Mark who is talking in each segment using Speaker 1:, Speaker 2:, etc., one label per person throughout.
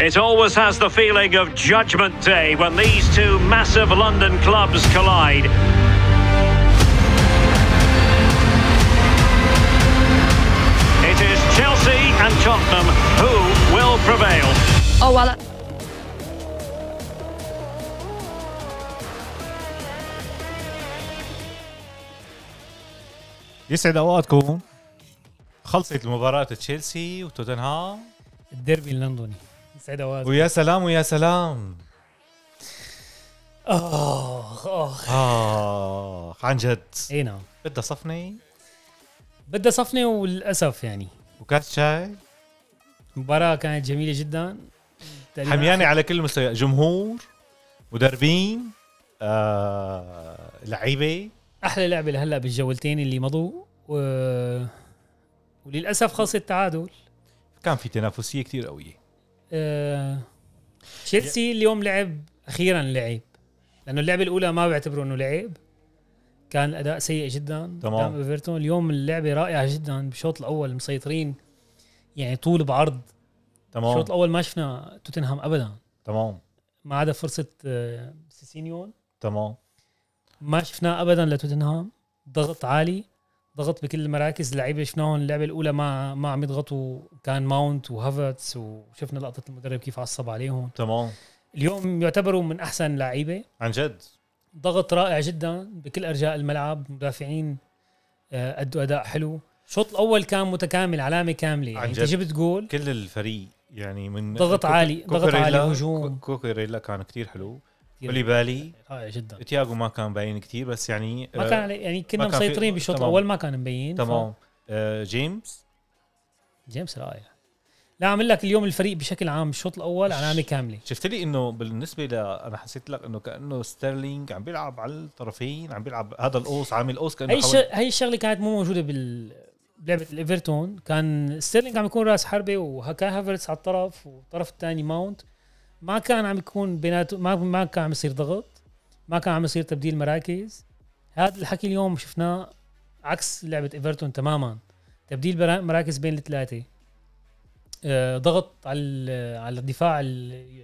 Speaker 1: It always has the feeling of Judgment Day when these two massive London clubs collide. It is Chelsea and Tottenham who will prevail.
Speaker 2: Oh, well.
Speaker 3: يسعد اوقاتكم خلصت مباراة تشيلسي وتوتنهام
Speaker 4: الديربي اللندني يسعد اوقاتك
Speaker 3: ويا سلام ويا سلام
Speaker 4: اخ اخ
Speaker 3: اه عن جد
Speaker 4: اي نعم
Speaker 3: بدها صفنة
Speaker 4: بدها صفنه وللاسف يعني
Speaker 3: وكاس شاي
Speaker 4: المباراه كانت جميله جدا تقريباً
Speaker 3: حميانة على كل المستويات جمهور مدربين آه لعيبة
Speaker 4: احلى لعبه لهلا بالجولتين اللي مضوا و... وللاسف خلص التعادل
Speaker 3: كان في تنافسية كتير قوية
Speaker 4: آه، تشيلسي اليوم لعب اخيرا لعب لانه اللعبه الاولى ما بعتبره انه لعب كان الاداء سيء جدا
Speaker 3: تمام.
Speaker 4: قدام ايفرتون اليوم اللعبه رائعه جدا بالشوط الاول مسيطرين يعني طول بعرض
Speaker 3: تمام
Speaker 4: الشوط الاول ما شفنا توتنهام ابدا
Speaker 3: تمام
Speaker 4: ما عدا فرصه آه، سيسينيون
Speaker 3: تمام
Speaker 4: ما شفناه ابدا لتوتنهام ضغط عالي ضغط بكل المراكز اللعيبه شفناهم اللعبه الاولى ما ما عم يضغطوا كان ماونت وهافرتس وشفنا لقطه المدرب كيف عصب عليهم
Speaker 3: تمام
Speaker 4: اليوم يعتبروا من احسن لعيبه
Speaker 3: عن جد
Speaker 4: ضغط رائع جدا بكل ارجاء الملعب مدافعين آه، ادوا اداء حلو الشوط الاول كان متكامل علامه كامله
Speaker 3: عن
Speaker 4: يعني انت
Speaker 3: جد.
Speaker 4: جبت جول
Speaker 3: كل الفريق يعني من
Speaker 4: ضغط
Speaker 3: كوك-
Speaker 4: عالي، ضغط
Speaker 3: كوكوريلا-
Speaker 4: عالي، هجوم.
Speaker 3: كو- كوكوريلا كان كتير حلو
Speaker 4: كتير
Speaker 3: وليبالي
Speaker 4: رائع جدا
Speaker 3: تياغو ما كان باين كتير بس يعني
Speaker 4: ما
Speaker 3: آه،
Speaker 4: كان عليه يعني كنا
Speaker 3: ما كان في-
Speaker 4: مسيطرين بالشوط
Speaker 3: تمام.
Speaker 4: الاول ما كان مبين
Speaker 3: تمام آه جيمس
Speaker 4: جيمس رائع لا عم أقول لك اليوم الفريق بشكل عام الشوط الاول علامه كامله
Speaker 3: شفت لي انه بالنسبه ل انا حسيت لك انه كانه ستيرلينج عم بيلعب على الطرفين عم بيلعب هذا القوس عامل قوس كانه
Speaker 4: هي الش...
Speaker 3: حاول-
Speaker 4: هي الشغله كانت مو موجوده بال بلعبه الايفرتون كان ستيرلينج عم يكون راس حربه وكان هافرتس على الطرف والطرف الثاني ماونت ما كان عم يكون بيناتهم ما ما كان عم يصير ضغط ما كان عم يصير تبديل مراكز هذا الحكي اليوم شفناه عكس لعبه ايفرتون تماما تبديل برا- مراكز بين الثلاثه آه، ضغط على ال- على الدفاع ال-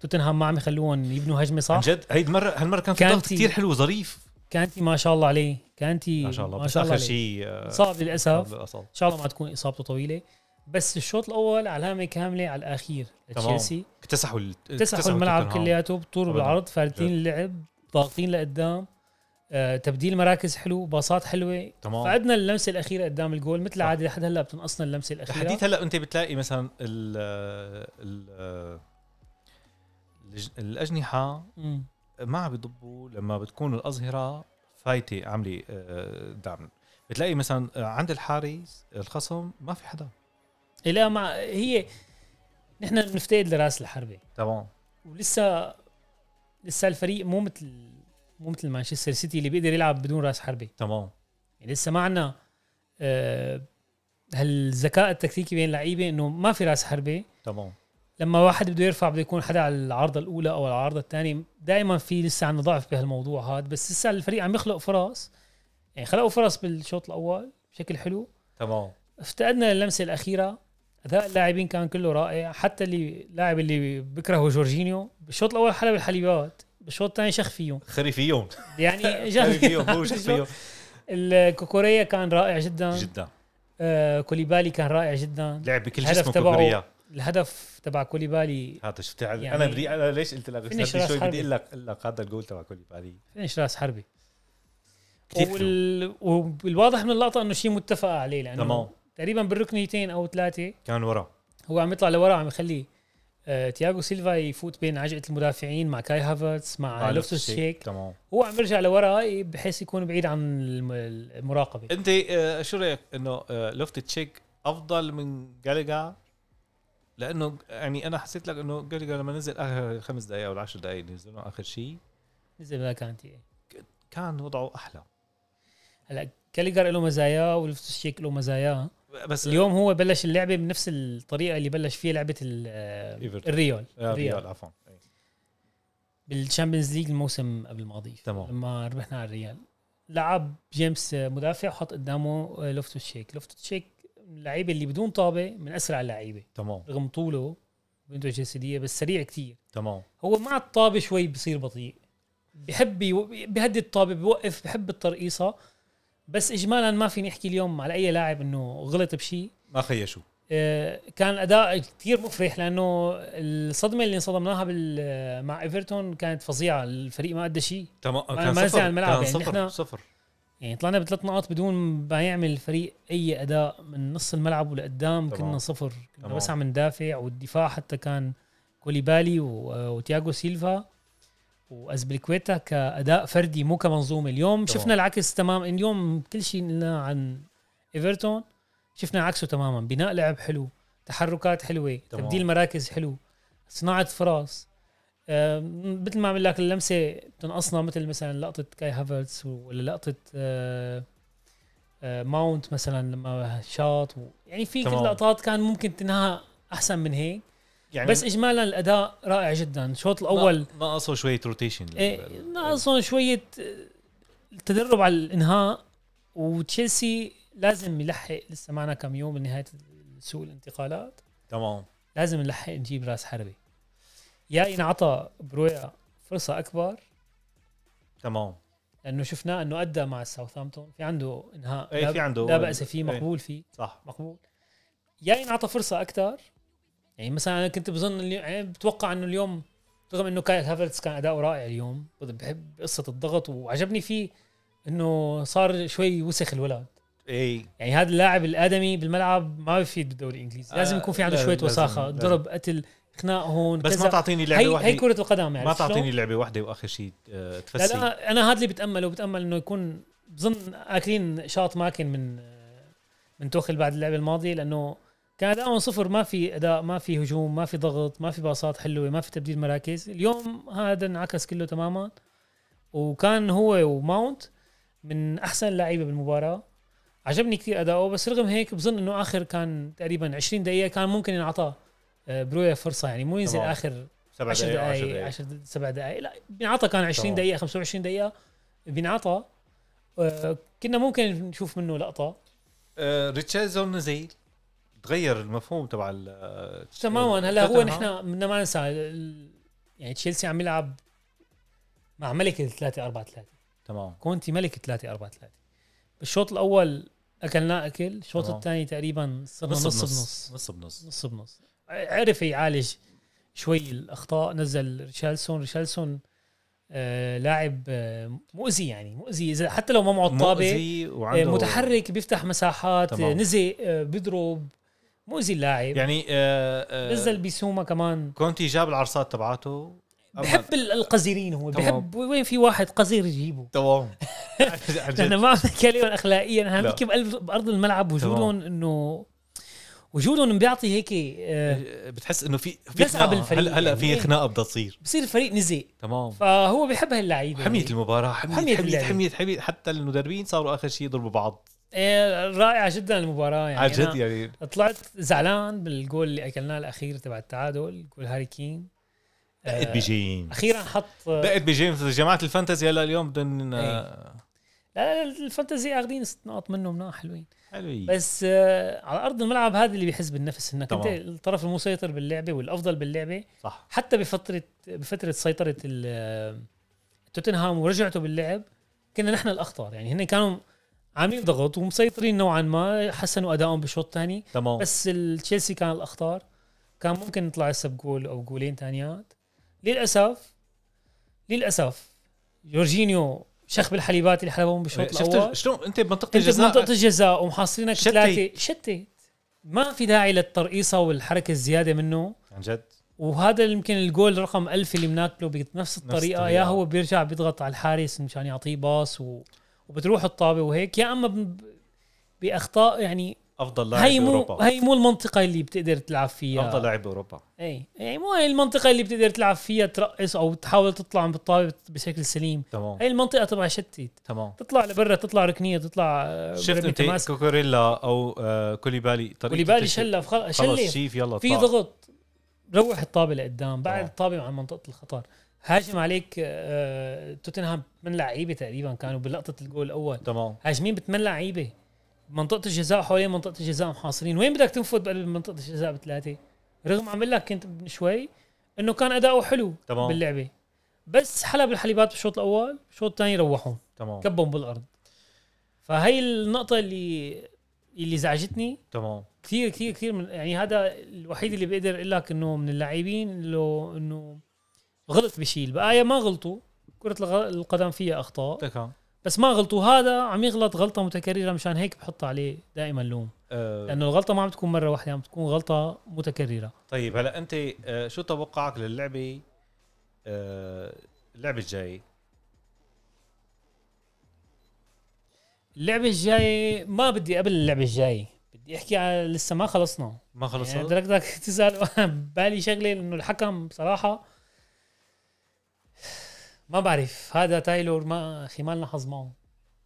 Speaker 4: توتنهام ما عم يخلوهم يبنوا هجمه
Speaker 3: عن
Speaker 4: صح
Speaker 3: جد هيدي المره هالمره كان في
Speaker 4: كان
Speaker 3: ضغط
Speaker 4: في-
Speaker 3: كثير حلو ظريف
Speaker 4: كانتي ما شاء الله عليه كانتي
Speaker 3: ما شاء الله
Speaker 4: ما
Speaker 3: بس
Speaker 4: شاء الله
Speaker 3: اخر
Speaker 4: عليه.
Speaker 3: شيء آه،
Speaker 4: صعب للاسف
Speaker 3: للأسف.
Speaker 4: ان شاء الله ما تكون اصابته طويله بس الشوط الاول علامه كامله على الاخير
Speaker 3: تمام.
Speaker 4: تشيلسي
Speaker 3: اكتسحوا ال-
Speaker 4: تسعوا الملعب
Speaker 3: توتنهام.
Speaker 4: كلياته بطور
Speaker 3: أبداً.
Speaker 4: بالعرض فارتين
Speaker 3: جد.
Speaker 4: اللعب ضاغطين لقدام آه، تبديل مراكز حلو باصات حلوه
Speaker 3: تمام
Speaker 4: فعدنا اللمسه الاخيره قدام الجول مثل العاده لحد هلا بتنقصنا اللمسه الاخيره
Speaker 3: تحديد هلا انت بتلاقي مثلا ال ال الج- الاجنحه
Speaker 4: مم.
Speaker 3: ما عم يضبوا لما بتكون الاظهره فايته عامله آه، دعم بتلاقي مثلا آه، عند الحارس الخصم ما في حدا
Speaker 4: لا مع هي نحن بنفتقد لراس الحربه
Speaker 3: تمام
Speaker 4: ولسه لسه الفريق مو مثل مو مثل مانشستر سيتي اللي بيقدر يلعب بدون راس حربه
Speaker 3: تمام
Speaker 4: يعني لسه ما عندنا آه، هالذكاء التكتيكي بين اللعيبه انه ما في راس حربه
Speaker 3: تمام
Speaker 4: لما واحد بده يرفع بده يكون حدا على العارضه الاولى او العارضه الثانيه دائما في لسه عندنا ضعف بهالموضوع هذا بس لسه الفريق عم يخلق فرص يعني خلقوا فرص بالشوط الاول بشكل حلو
Speaker 3: تمام
Speaker 4: افتقدنا اللمسه الاخيره اداء اللاعبين كان كله رائع حتى اللي اللاعب اللي بكرهه جورجينيو بالشوط الاول حلب الحليبات بالشوط الثاني شخ فيهم
Speaker 3: خريفيون
Speaker 4: يعني
Speaker 3: خريفيون هو شخصيون
Speaker 4: الكوكوريا كان رائع جدا
Speaker 3: جدا
Speaker 4: آه كوليبالي كان رائع جدا
Speaker 3: لعب بكل
Speaker 4: الهدف
Speaker 3: جسمه
Speaker 4: تبعه
Speaker 3: كوكوريا
Speaker 4: الهدف تبع كوليبالي
Speaker 3: هذا شفت يعني
Speaker 4: يعني-
Speaker 3: انا بدي انا ليش قلت لك
Speaker 4: فينيش
Speaker 3: استنى
Speaker 4: راس
Speaker 3: شوي
Speaker 4: حربة.
Speaker 3: بدي اقول لك اقول لك هذا الجول تبع كوليبالي
Speaker 4: فينش راس حربي
Speaker 3: كتير حلو.
Speaker 4: وال... والواضح من اللقطه انه شيء متفق عليه لانه
Speaker 3: تمام.
Speaker 4: تقريبا بالركنيتين او ثلاثه
Speaker 3: كان ورا
Speaker 4: هو عم يطلع لورا عم يخلي آه تياغو سيلفا يفوت بين عجقه المدافعين مع كاي هافرتس مع لوفتوس شيك
Speaker 3: آه، تمام
Speaker 4: هو عم يرجع لورا بحيث يكون بعيد عن الم- المراقبه
Speaker 3: انت آه، شو رايك انه آه، لوفت تشيك افضل من جالجا لانه يعني انا حسيت لك انه جالجا لما نزل اخر خمس دقائق او العشر دقائق اللي نزلوا اخر شيء
Speaker 4: نزل بلا كانتي
Speaker 3: كان وضعه احلى
Speaker 4: هلا كاليجر له مزاياه ولوفتوس شيك له مزاياه
Speaker 3: بس
Speaker 4: اليوم هو بلش اللعبه بنفس الطريقه اللي بلش فيها لعبه ال- آه،
Speaker 3: إيفرتون.
Speaker 4: الريال
Speaker 3: آه، ريال
Speaker 4: الريال
Speaker 3: عفوا أي.
Speaker 4: بالشامبيونز ليج الموسم قبل الماضي
Speaker 3: تمام.
Speaker 4: لما ربحنا على الريال لعب جيمس آه، مدافع وحط قدامه آه، لوفتوس شيك لوفتوس شيك من اللعيبه اللي بدون طابه من اسرع اللعيبه
Speaker 3: تمام
Speaker 4: رغم طوله بنته جسديه بس سريع كتير
Speaker 3: تمام
Speaker 4: هو مع الطابه شوي بصير بطيء بحب يو... بهدي الطابه بوقف بحب الترقيصه بس اجمالا ما فيني احكي اليوم على اي لاعب انه غلط بشيء
Speaker 3: ما خيشوا
Speaker 4: آه، كان اداء كثير مفرح لانه الصدمه اللي انصدمناها بال... مع ايفرتون كانت فظيعه الفريق ما ادى شيء
Speaker 3: تمام
Speaker 4: ما-
Speaker 3: كان
Speaker 4: ما نزل
Speaker 3: صفر
Speaker 4: على الملعب،
Speaker 3: كان
Speaker 4: يعني
Speaker 3: صفر
Speaker 4: نحن-
Speaker 3: صفر
Speaker 4: يعني طلعنا بثلاث نقاط بدون ما يعمل الفريق اي اداء من نص الملعب ولقدام
Speaker 3: تمام.
Speaker 4: كنا صفر كنا
Speaker 3: تمام.
Speaker 4: بس عم ندافع والدفاع حتى كان كوليبالي و- وتياغو سيلفا وازبليكويتا كاداء فردي مو كمنظومه اليوم
Speaker 3: تمام.
Speaker 4: شفنا العكس تمام اليوم كل شيء قلنا عن ايفرتون شفنا عكسه تماما بناء لعب حلو تحركات حلوه
Speaker 3: تمام.
Speaker 4: تمام. تبديل مراكز حلو صناعه فرص آم، آه، مثل ما عمل لك اللمسه بتنقصنا مثل مثلا لقطه كاي هافرتس ولا لقطه آه، آه، ماونت مثلا لما شاط و... يعني في كل
Speaker 3: تمام.
Speaker 4: لقطات كان ممكن تنهى احسن من هيك
Speaker 3: يعني
Speaker 4: بس اجمالا الاداء رائع جدا الشوط الاول
Speaker 3: نا- ناقصه شويه روتيشن
Speaker 4: إيه، ناقصهم شويه آه، التدرب على الانهاء وتشيلسي لازم يلحق لسه معنا كم يوم لنهايه سوق الانتقالات
Speaker 3: تمام
Speaker 4: لازم نلحق نجيب راس حربي يا ينعطى برويا فرصه اكبر
Speaker 3: تمام
Speaker 4: لانه شفناه انه ادى مع ساوثهامبتون في عنده انهاء
Speaker 3: إيه،
Speaker 4: لا-
Speaker 3: في عنده-
Speaker 4: لا باس فيه
Speaker 3: إيه.
Speaker 4: مقبول فيه
Speaker 3: صح
Speaker 4: مقبول يا ينعطى فرصه اكثر يعني مثلا انا كنت بظن اليوم يعني بتوقع انه اليوم رغم انه كايل هافرتس كان اداؤه رائع اليوم بحب قصه الضغط وعجبني فيه انه صار شوي وسخ الولد
Speaker 3: اي
Speaker 4: يعني هذا اللاعب الادمي بالملعب ما بيفيد بالدوري الانجليزي لازم
Speaker 3: آه،
Speaker 4: يكون في عنده
Speaker 3: لازم-
Speaker 4: شويه
Speaker 3: لازم-
Speaker 4: وساخه
Speaker 3: لازم.
Speaker 4: ضرب قتل خناق هون
Speaker 3: بس
Speaker 4: كذا.
Speaker 3: ما تعطيني
Speaker 4: هي
Speaker 3: لعبه
Speaker 4: هي
Speaker 3: واحده
Speaker 4: كره القدم يعني
Speaker 3: ما تعطيني لعبه واحده واخر شيء آه،
Speaker 4: لا
Speaker 3: تفسي
Speaker 4: لا انا هذا اللي بتامله بتامل انه يكون بظن اكلين شاط ماكن من من توخل بعد اللعبه الماضيه لانه كان اداؤهم صفر ما في اداء ما في هجوم ما في ضغط ما في باصات حلوه ما في تبديل مراكز اليوم هذا انعكس كله تماما وكان هو وماونت من احسن اللعيبه بالمباراه عجبني كثير اداؤه بس رغم هيك بظن انه اخر كان تقريبا 20 دقيقه كان ممكن ينعطى آه، برويا فرصه يعني مو ينزل
Speaker 3: تمام.
Speaker 4: اخر
Speaker 3: سبع
Speaker 4: 10
Speaker 3: دقائق 10
Speaker 4: دقائق
Speaker 3: دقائق
Speaker 4: 10 سبع دقائق لا بينعطى كان 20
Speaker 3: تمام.
Speaker 4: دقيقة 25 دقيقة بينعطى آه، كنا ممكن نشوف منه لقطة
Speaker 3: آه، ريتشاردسون نزل تغير المفهوم تبع ال- آه،
Speaker 4: تماما هلا هو
Speaker 3: توتنهام.
Speaker 4: نحن بدنا ما ننسى ال- يعني تشيلسي عم يلعب مع ملك ال 3 4 3
Speaker 3: تمام
Speaker 4: كونتي ملك 3 4 3 بالشوط الأول أكلنا أكل الشوط
Speaker 3: تمام.
Speaker 4: الثاني تقريبا صرنا
Speaker 3: نص
Speaker 4: نص
Speaker 3: بنص نص
Speaker 4: بنص
Speaker 3: بنص
Speaker 4: نص بنص عرف يعالج شوي الاخطاء نزل ريشالسون ريشالسون آه لاعب آه مؤذي يعني مؤذي اذا حتى لو ما معه الطابه
Speaker 3: مؤذي
Speaker 4: آه
Speaker 3: وعنده
Speaker 4: متحرك بيفتح مساحات
Speaker 3: تمام.
Speaker 4: آه نزي آه بيضرب مؤذي اللاعب يعني
Speaker 3: يعني آه، آه،
Speaker 4: نزل بيسوما كمان
Speaker 3: كونتي جاب العرصات تبعته أما-
Speaker 4: بحب ال- القزيرين هو
Speaker 3: تمام.
Speaker 4: بحب وين في واحد قزير يجيبه
Speaker 3: تمام عن جد.
Speaker 4: نحن ما عم نحكي عليهم اخلاقيا نحن عم
Speaker 3: لا.
Speaker 4: نحكي بقلب- بارض الملعب وجودهم انه وجودهم بيعطي هيك
Speaker 3: إيه.
Speaker 4: آه
Speaker 3: بتحس انه في في
Speaker 4: نزعة
Speaker 3: خناقة.
Speaker 4: بالفريق
Speaker 3: هلا هلا
Speaker 4: يعني.
Speaker 3: في خناقه بدها تصير
Speaker 4: بصير الفريق نزيق
Speaker 3: تمام
Speaker 4: فهو بيحب هاللعيبه
Speaker 3: حمية
Speaker 4: يعني.
Speaker 3: المباراة حمية حمية
Speaker 4: حمية
Speaker 3: حمية,
Speaker 4: اللعبة.
Speaker 3: حمية, حمية حتى المدربين صاروا آخر شيء يضربوا بعض
Speaker 4: إيه، رائعه جدا المباراه يعني
Speaker 3: عن جد
Speaker 4: أنا
Speaker 3: يعني
Speaker 4: طلعت زعلان بالجول اللي اكلناه الاخير تبع التعادل جول هاري كين
Speaker 3: دقت بجيم
Speaker 4: اخيرا حط لا
Speaker 3: دقت بجيم جماعة الفانتزي هلا اليوم بدهم آه،
Speaker 4: إيه. لا، الفانتزي اخذين ست نقاط منه منها حلوين
Speaker 3: حلوين
Speaker 4: بس آه، على ارض الملعب هذا اللي بيحس بالنفس انك انت
Speaker 3: تمام.
Speaker 4: الطرف المسيطر باللعبه والافضل باللعبه
Speaker 3: صح
Speaker 4: حتى بفتره بفتره سيطره ال- آه، توتنهام ورجعته باللعب كنا نحن الاخطر يعني هن كانوا عاملين ضغط ومسيطرين نوعا ما حسنوا ادائهم بالشوط الثاني
Speaker 3: تمام بس
Speaker 4: بس تشيلسي كان الاخطار كان ممكن نطلع هسه بجول او جولين ثانيات للاسف للاسف جورجينيو شخ بالحليبات اللي حلبهم بالشوط
Speaker 3: إيه، شفت
Speaker 4: الاول
Speaker 3: شلون انت بمنطقة
Speaker 4: انت بمنطقه
Speaker 3: الجزاء
Speaker 4: الجزاء ومحاصرينك
Speaker 3: شتت.
Speaker 4: ثلاثه شتت ما في داعي للترقيصه والحركه الزياده منه
Speaker 3: عن جد
Speaker 4: وهذا اللي يمكن الجول رقم ألف اللي مناكله بنفس الطريقه يا
Speaker 3: الطريقة.
Speaker 4: هو بيرجع بيضغط على الحارس مشان يعطيه باص و... وبتروح الطابه وهيك يا اما ب... باخطاء يعني
Speaker 3: أفضل لاعب
Speaker 4: هي مو
Speaker 3: بأوروبا
Speaker 4: هي مو المنطقه اللي بتقدر تلعب فيها
Speaker 3: أفضل لاعب بأوروبا
Speaker 4: اي يعني مو هي المنطقه اللي بتقدر تلعب فيها ترقص او تحاول تطلع من بالطابه بشكل سليم
Speaker 3: تمام
Speaker 4: هي المنطقه تبع شتت
Speaker 3: تمام
Speaker 4: تطلع لبرا تطلع ركنيه تطلع آه،
Speaker 3: شفت إيه؟
Speaker 4: مرمي
Speaker 3: انت
Speaker 4: تماس
Speaker 3: كوكوريلا او آه، كوليبالي طريقة
Speaker 4: وليبالي
Speaker 3: التشكيل.
Speaker 4: شلف خلص
Speaker 3: خلص
Speaker 4: شلف
Speaker 3: شيف يلا
Speaker 4: في
Speaker 3: طار.
Speaker 4: ضغط روح الطابه لقدام بعد
Speaker 3: تمام.
Speaker 4: الطابه عن منطقه الخطر هاجم عليك آه، توتنهام من لعيبه تقريبا كانوا بلقطه الجول الاول
Speaker 3: تمام
Speaker 4: هاجمين بثمان لعيبه منطقه الجزاء حوالين منطقه الجزاء محاصرين وين بدك تنفذ بقلب منطقه الجزاء بثلاثه رغم عم اقول لك كنت من شوي انه كان اداؤه حلو
Speaker 3: تمام.
Speaker 4: باللعبه بس حلب الحليبات بالشوط الاول الشوط الثاني روحهم
Speaker 3: تمام
Speaker 4: كبهم بالارض فهي النقطه اللي اللي زعجتني
Speaker 3: تمام
Speaker 4: كثير كثير كثير من يعني هذا الوحيد اللي بقدر اقول لك انه من اللاعبين اللي انه غلط بشيء البقايا ما غلطوا كرة الغ- القدم فيها اخطاء
Speaker 3: بدك هون.
Speaker 4: بس ما غلطوا هذا عم يغلط غلطة متكررة مشان هيك بحط عليه دائما لوم
Speaker 3: آه،
Speaker 4: لانه الغلطة ما عم تكون مرة واحدة عم تكون غلطة متكررة
Speaker 3: طيب هلا انت آه، شو توقعك للعبه آه، اللعبه الجايه
Speaker 4: اللعبة الجاية ما بدي قبل اللعبة الجاية بدي احكي على لسه ما خلصنا
Speaker 3: ما خلصت
Speaker 4: يعني بدك بدك تسال وأنا بالي شغله انه الحكم بصراحه ما بعرف هذا تايلور ما اخي ما لنا حظ معه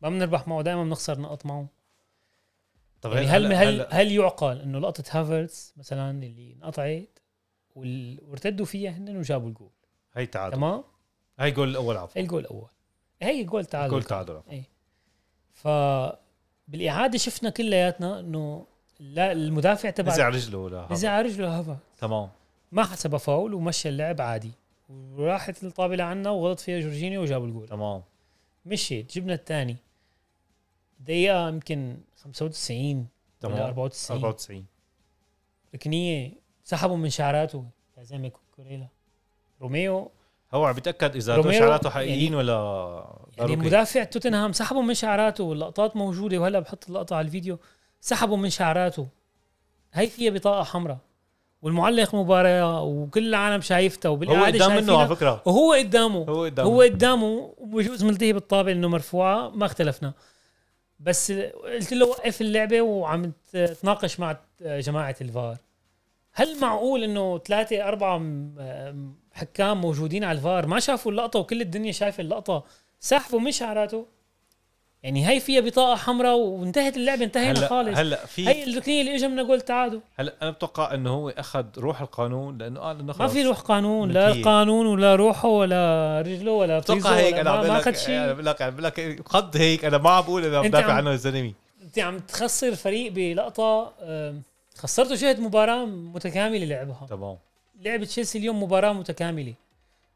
Speaker 4: ما بنربح معه دائما بنخسر نقط معه
Speaker 3: طب
Speaker 4: يعني هل هل هل يعقل انه لقطه هافرتس مثلا اللي انقطعت وال- وارتدوا فيها هن وجابوا الجول
Speaker 3: هي تعادل
Speaker 4: تمام
Speaker 3: هي جول الاول عفوا
Speaker 4: هي الجول الاول هي الجول تعادل
Speaker 3: جول تعادل عفوا.
Speaker 4: ف بالاعاده شفنا كلياتنا انه لا المدافع
Speaker 3: نزع
Speaker 4: تبع
Speaker 3: رجله ولا
Speaker 4: نزع على رجله هافرتس
Speaker 3: تمام
Speaker 4: ما حسبها فاول ومشى اللعب عادي وراحت الطابلة عنا وغلط فيها جورجينيو وجاب الجول
Speaker 3: تمام
Speaker 4: مشيت جبنا الثاني دقيقة يمكن 95
Speaker 3: تمام
Speaker 4: ولا 94.
Speaker 3: 94
Speaker 4: ركنية سحبوا من شعراته يا زلمة كوكوريلا روميو
Speaker 3: هو عم بيتاكد اذا هدول
Speaker 4: روميرو
Speaker 3: شعراته حقيقيين
Speaker 4: يعني-
Speaker 3: ولا
Speaker 4: يعني
Speaker 3: باروكي.
Speaker 4: مدافع توتنهام سحبوا من شعراته واللقطات موجودة وهلا بحط اللقطة على الفيديو سحبوا من شعراته هي فيها بطاقة حمراء والمعلق مباراة وكل العالم شايفتها
Speaker 3: هو
Speaker 4: وبالإعادة
Speaker 3: قدام منه على
Speaker 4: شايفينها
Speaker 3: فكره
Speaker 4: وهو قدامه
Speaker 3: هو قدامه.
Speaker 4: هو قدامه وبجوز ملتهي بالطابه انه مرفوعه ما اختلفنا بس قلت له وقف اللعبه وعم ت- تناقش مع جماعه الفار هل معقول انه ثلاثه اربعه م- م- حكام موجودين على الفار ما شافوا اللقطه وكل الدنيا شايفه اللقطه سحبوا من شعراته يعني هي فيها بطاقه حمراء وانتهت اللعبه انتهينا
Speaker 3: هلا
Speaker 4: خالص
Speaker 3: هلا في
Speaker 4: هي الركنيه اللي اجى منها جول تعادل
Speaker 3: هلا انا بتوقع انه هو اخذ روح القانون لانه قال انه
Speaker 4: ما
Speaker 3: خلص
Speaker 4: في روح قانون لا
Speaker 3: ملكية.
Speaker 4: قانون ولا روحه ولا رجله ولا
Speaker 3: اتوقع
Speaker 4: فريزه
Speaker 3: هيك
Speaker 4: ولا
Speaker 3: انا
Speaker 4: ما-
Speaker 3: عم
Speaker 4: ما
Speaker 3: بقول
Speaker 4: اخذ
Speaker 3: لك أنا
Speaker 4: شيء
Speaker 3: بقول لك عم بقول لك قد هيك انا ما عم بقول انا عم
Speaker 4: أنت
Speaker 3: بدافع
Speaker 4: عم-
Speaker 3: عنه يا زلمه
Speaker 4: انت عم تخسر فريق بلقطه آم، خسرته شهد مباراه متكامله لعبها
Speaker 3: تمام
Speaker 4: لعبه تشيلسي اليوم مباراه متكامله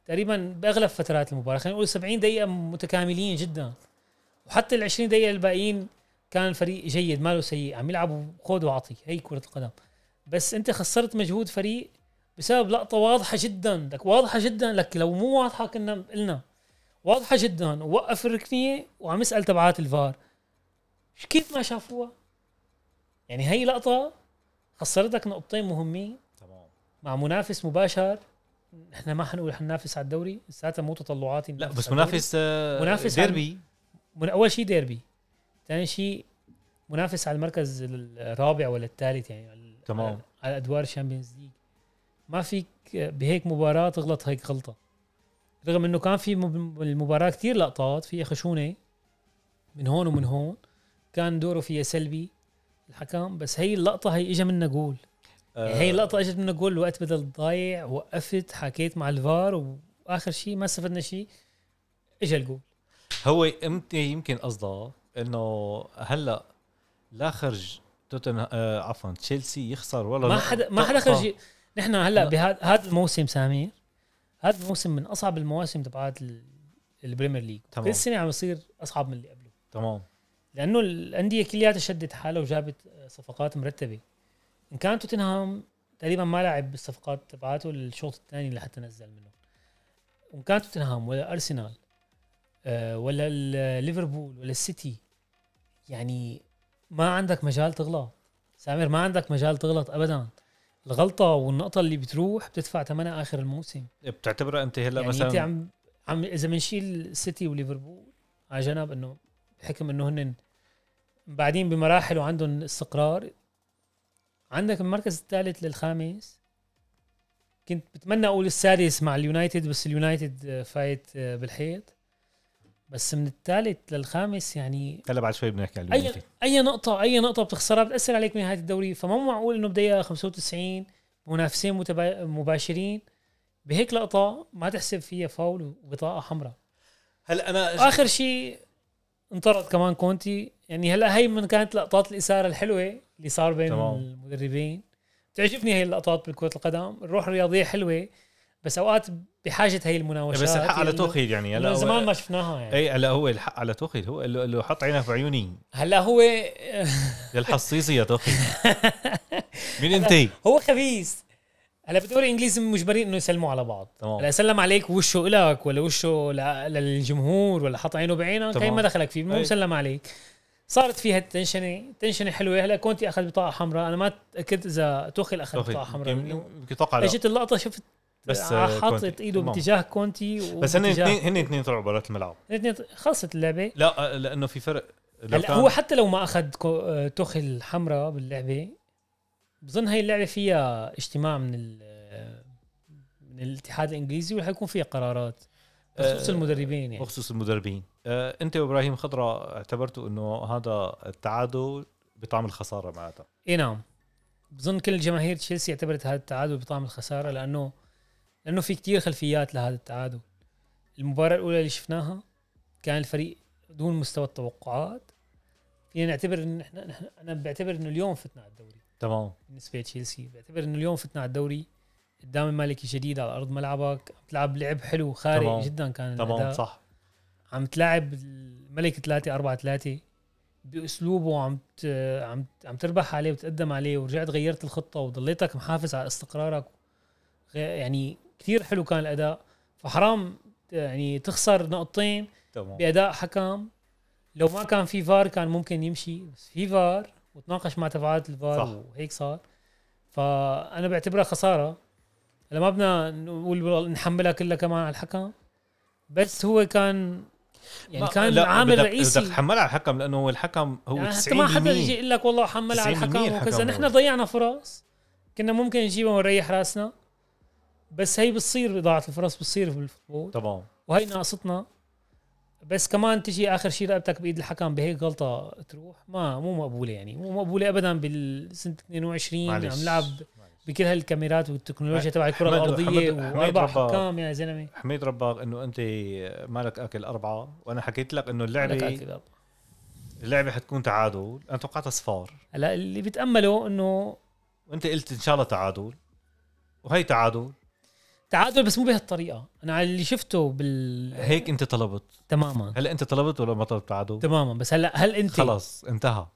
Speaker 4: تقريبا باغلب فترات المباراه خلينا نقول 70 دقيقه متكاملين جدا وحتى ال 20 دقيقه الباقيين كان الفريق جيد ماله سيء عم يلعبوا خود وعطي هي كره القدم بس انت خسرت مجهود فريق بسبب لقطه واضحه جدا لك واضحه جدا لك لو مو واضحه كنا قلنا واضحه جدا ووقف الركنيه وعم يسال تبعات الفار ش- كيف ما شافوها يعني هي لقطه خسرتك نقطتين مهمين
Speaker 3: تمام
Speaker 4: مع منافس مباشر احنا ما حنقول حننافس على الدوري لساتها مو تطلعاتي
Speaker 3: لا
Speaker 4: ننافس
Speaker 3: بس
Speaker 4: على الدوري.
Speaker 3: منافس آه،
Speaker 4: منافس
Speaker 3: ديربي
Speaker 4: من اول شيء ديربي ثاني شيء منافس على المركز الرابع ولا الثالث يعني على-
Speaker 3: تمام.
Speaker 4: على ادوار الشامبيونز ليج ما فيك بهيك مباراه تغلط هيك غلطه رغم انه كان في مب- المباراه كتير لقطات فيها خشونه من هون ومن هون كان دوره فيها سلبي الحكم بس هي اللقطه هي اجى منها جول
Speaker 3: آه،
Speaker 4: هي اللقطة اجت من الجول الوقت بدل ضايع وقفت حكيت مع الفار واخر شيء ما استفدنا شيء اجى الجول
Speaker 3: هو امتى يمكن قصده انه هلا لا خرج توتنهام آه عفوا تشيلسي يخسر ولا
Speaker 4: ما
Speaker 3: نقطة.
Speaker 4: حدا ما حدا
Speaker 3: طب-
Speaker 4: خرج ي- نحن هلا
Speaker 3: لا.
Speaker 4: بهذا هذا الموسم سامي هذا الموسم من اصعب المواسم تبعات ال- البريمير ليج
Speaker 3: تمام.
Speaker 4: كل سنه عم يصير اصعب من اللي قبله
Speaker 3: تمام
Speaker 4: لانه الانديه كلياتها شدت حالها وجابت صفقات مرتبه ان كان توتنهام تقريبا ما لعب بالصفقات تبعاته الشوط الثاني لحتى نزل منه وان كان توتنهام ولا ارسنال آه، ولا ال- ليفربول ولا السيتي يعني ما عندك مجال تغلط سامر ما عندك مجال تغلط ابدا الغلطه والنقطه اللي بتروح بتدفع ثمنها اخر الموسم
Speaker 3: بتعتبرها انت هلا
Speaker 4: يعني انت
Speaker 3: مثلا
Speaker 4: عم عم اذا بنشيل السيتي وليفربول على جنب انه بحكم انه هن بعدين بمراحل وعندهم استقرار عندك المركز الثالث للخامس كنت بتمنى اقول السادس مع اليونايتد بس اليونايتد آه، فايت آه، بالحيط بس من الثالث للخامس يعني
Speaker 3: هلا بعد شوي بنحكي على
Speaker 4: اي
Speaker 3: اليونايتد
Speaker 4: اي نقطه اي نقطه بتخسرها بتاثر عليك بنهايه الدوري فما معقول انه بدقيقه 95 منافسين متبا... مباشرين بهيك لقطه ما تحسب فيها فاول وبطاقه حمراء
Speaker 3: هلا انا
Speaker 4: اخر شيء انطرد كمان كونتي يعني هلا هي من كانت لقطات الاثاره الحلوه اللي صار بين
Speaker 3: تمام.
Speaker 4: المدربين تعجبني هي اللقطات بالكرة القدم الروح الرياضية حلوة بس اوقات بحاجة هي المناوشات
Speaker 3: بس الحق على
Speaker 4: اللي-
Speaker 3: توخيل يعني
Speaker 4: اللي
Speaker 3: هلا
Speaker 4: زمان ما
Speaker 3: هو
Speaker 4: شفناها يعني
Speaker 3: اي هلا هو الحق على توخيل هو قال له, قال له حط عينك بعيوني
Speaker 4: هلا هو
Speaker 3: يا الحصيصي يا توخيل مين انت؟
Speaker 4: هو خبيث هلا بالدوري الانجليزي مجبرين انه يسلموا على بعض
Speaker 3: تمام.
Speaker 4: هلا سلم عليك وشه إلك ولا وشه ل- للجمهور ولا حط عينه بعينك
Speaker 3: تمام.
Speaker 4: هي ما دخلك فيه المهم
Speaker 3: أي.
Speaker 4: سلم عليك صارت فيها التنشنه التنشنه حلوه هلا كونتي اخذ بطاقه حمراء انا ما تاكدت اذا توخيل اخذ
Speaker 3: توخيل
Speaker 4: بطاقه حمراء
Speaker 3: يمكن-
Speaker 4: لأنه
Speaker 3: يمكن توقع لا
Speaker 4: اجت اللقطه شفت
Speaker 3: بس
Speaker 4: بس
Speaker 3: آه،
Speaker 4: حاطط
Speaker 3: كونتي.
Speaker 4: ايده
Speaker 3: تمام.
Speaker 4: باتجاه كونتي
Speaker 3: بس هن
Speaker 4: وباتجاه-
Speaker 3: اثنين هن اثنين طلعوا برات الملعب
Speaker 4: الاثنين خلصت اللعبه
Speaker 3: لا آه، لانه في فرق لو
Speaker 4: هلا
Speaker 3: كان-
Speaker 4: هو حتى لو ما اخذ كو- آه، توخي الحمراء باللعبه بظن هاي اللعبه فيها اجتماع من ال آه، من الاتحاد الانجليزي وحيكون فيها قرارات بخصوص
Speaker 3: آه،
Speaker 4: المدربين يعني
Speaker 3: بخصوص المدربين آه، انت وابراهيم خضرة اعتبرتوا انه هذا التعادل بطعم الخساره معناتها
Speaker 4: اي نعم بظن كل جماهير تشيلسي اعتبرت هذا التعادل بطعم الخساره لانه لانه في كتير خلفيات لهذا التعادل المباراه الاولى اللي شفناها كان الفريق دون مستوى التوقعات فينا نعتبر ان احنا نحن- انا بعتبر انه اليوم فتنا على الدوري
Speaker 3: تمام
Speaker 4: بالنسبه لتشيلسي بعتبر انه اليوم فتنا على الدوري قدام المالكي جديد على ارض ملعبك عم تلعب لعب حلو خارق
Speaker 3: تمام.
Speaker 4: جدا كان
Speaker 3: تمام
Speaker 4: الأداء.
Speaker 3: صح
Speaker 4: عم تلاعب الملك 3 4 3 باسلوبه عم ت... عم عم تربح عليه وتقدم عليه ورجعت غيرت الخطه وضليتك محافظ على استقرارك غ- يعني كثير حلو كان الاداء فحرام يعني تخسر نقطتين
Speaker 3: تمام
Speaker 4: باداء حكم لو ما كان في فار كان ممكن يمشي بس في فار وتناقش مع تبعات الفار
Speaker 3: صح.
Speaker 4: صح. وهيك صار فانا بعتبرها خساره هلا ما بدنا نقول والله نحملها كلها كمان على الحكم بس هو كان يعني
Speaker 3: ما-
Speaker 4: كان
Speaker 3: لا،
Speaker 4: عامل
Speaker 3: بدك-
Speaker 4: رئيسي
Speaker 3: بدك تحملها على الحكم لانه هو الحكم هو
Speaker 4: يعني
Speaker 3: 90%
Speaker 4: حتى ما حدا يجي يقول لك والله حمل على
Speaker 3: 90%
Speaker 4: الحكم وكذا
Speaker 3: الحكم
Speaker 4: نحن
Speaker 3: هو.
Speaker 4: ضيعنا فرص كنا ممكن نجيبها ونريح راسنا بس هي بتصير اضاعه الفرص بتصير بالفوتبول
Speaker 3: تمام
Speaker 4: وهي ناقصتنا بس كمان تجي اخر شيء رقبتك بايد الحكم بهيك غلطه تروح ما مو مقبوله يعني مو مقبوله ابدا بالسنه 22
Speaker 3: معلش.
Speaker 4: عم نلعب
Speaker 3: معلش.
Speaker 4: بكل هالكاميرات والتكنولوجيا
Speaker 3: حمد-
Speaker 4: تبع الكره
Speaker 3: حمد-
Speaker 4: الارضيه
Speaker 3: حمد- حمد
Speaker 4: واربع
Speaker 3: ربا.
Speaker 4: حكام يا زلمه
Speaker 3: حميد ربك انه انت مالك اكل اربعه وانا حكيت لك انه
Speaker 4: لك
Speaker 3: اللعبه
Speaker 4: أكيد.
Speaker 3: اللعبه حتكون تعادل انا توقعتها صفار
Speaker 4: هلا اللي بتامله انه
Speaker 3: وانت قلت ان شاء الله تعادل وهي تعادل
Speaker 4: تعادل بس مو بهالطريقه انا على اللي شفته بال
Speaker 3: هيك انت طلبت
Speaker 4: تماما
Speaker 3: هل انت طلبت ولا ما طلبت تعادل
Speaker 4: تماما بس هلا هل انت
Speaker 3: خلص انتهى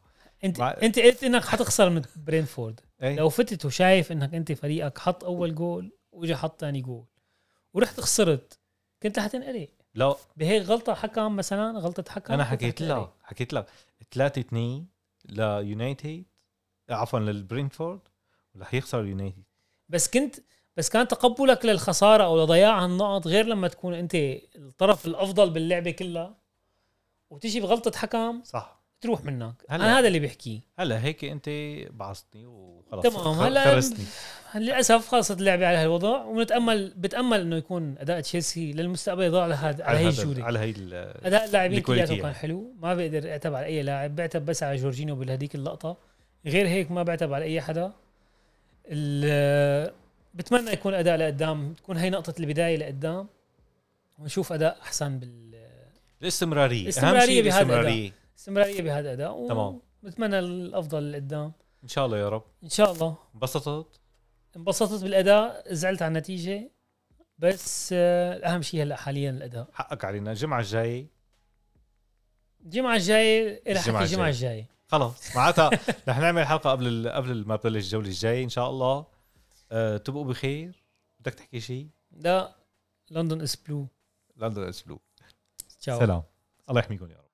Speaker 4: انت
Speaker 3: مع-
Speaker 4: انت قلت انك حتخسر من برينفورد
Speaker 3: اي
Speaker 4: لو فتت وشايف انك انت فريقك حط اول جول واجى حط ثاني جول ورحت خسرت كنت رح تنقلق
Speaker 3: لا
Speaker 4: بهيك غلطه حكم مثلا غلطه حكم
Speaker 3: انا
Speaker 4: كنت رح
Speaker 3: حكيت
Speaker 4: تنقلق.
Speaker 3: لها حكيت لها 3 2 ليونايتد عفوا للبرينفورد رح يخسر يونايتد
Speaker 4: بس كنت بس كان تقبلك للخساره او لضياع هالنقط غير لما تكون انت الطرف الافضل باللعبه كلها وتجي بغلطه حكم
Speaker 3: صح
Speaker 4: تروح منك
Speaker 3: هلا.
Speaker 4: انا هذا اللي بحكيه
Speaker 3: هلا هيك انت بعصتني وخلص
Speaker 4: تمام،
Speaker 3: خ-
Speaker 4: هلا-
Speaker 3: خرستني
Speaker 4: للاسف خلصت اللعبه على هالوضع ونتامل بتامل انه يكون اداء تشيلسي للمستقبل يضل على هذا على هي
Speaker 3: هذا-
Speaker 4: الجوله
Speaker 3: على هي ال-
Speaker 4: اداء اللاعبين
Speaker 3: الكواليتي
Speaker 4: كلياته كان
Speaker 3: يعني.
Speaker 4: حلو ما بقدر اعتب على اي لاعب بعتب بس على جورجينيو بهذيك اللقطه غير هيك ما بعتب على اي حدا ال- بتمنى يكون اداء لقدام تكون هي نقطه البدايه لقدام ونشوف اداء احسن بالاستمراريه
Speaker 3: الاستمراريه اهم
Speaker 4: الاستمرارية
Speaker 3: شيء
Speaker 4: بهذا
Speaker 3: الاستمراريه
Speaker 4: بهذا الاداء
Speaker 3: تمام.
Speaker 4: بتمنى الافضل لقدام
Speaker 3: ان شاء الله يا رب
Speaker 4: ان شاء الله
Speaker 3: انبسطت
Speaker 4: انبسطت بالاداء زعلت على النتيجه بس آه، اهم شيء هلا حاليا الاداء
Speaker 3: حقك علينا الجمعه الجايه
Speaker 4: الجمعه الجايه رح
Speaker 3: الجمعة
Speaker 4: احكي الجمعه الجايه
Speaker 3: خلص معناتها رح نعمل حلقه قبل ال- قبل ما تبلش الجوله الجاي ان شاء الله أه تبقوا بخير بدك تحكي شيء
Speaker 4: لا لندن اس بلو
Speaker 3: لندن اسلوب
Speaker 4: تشاو
Speaker 3: سلام الله يحميكم يا رب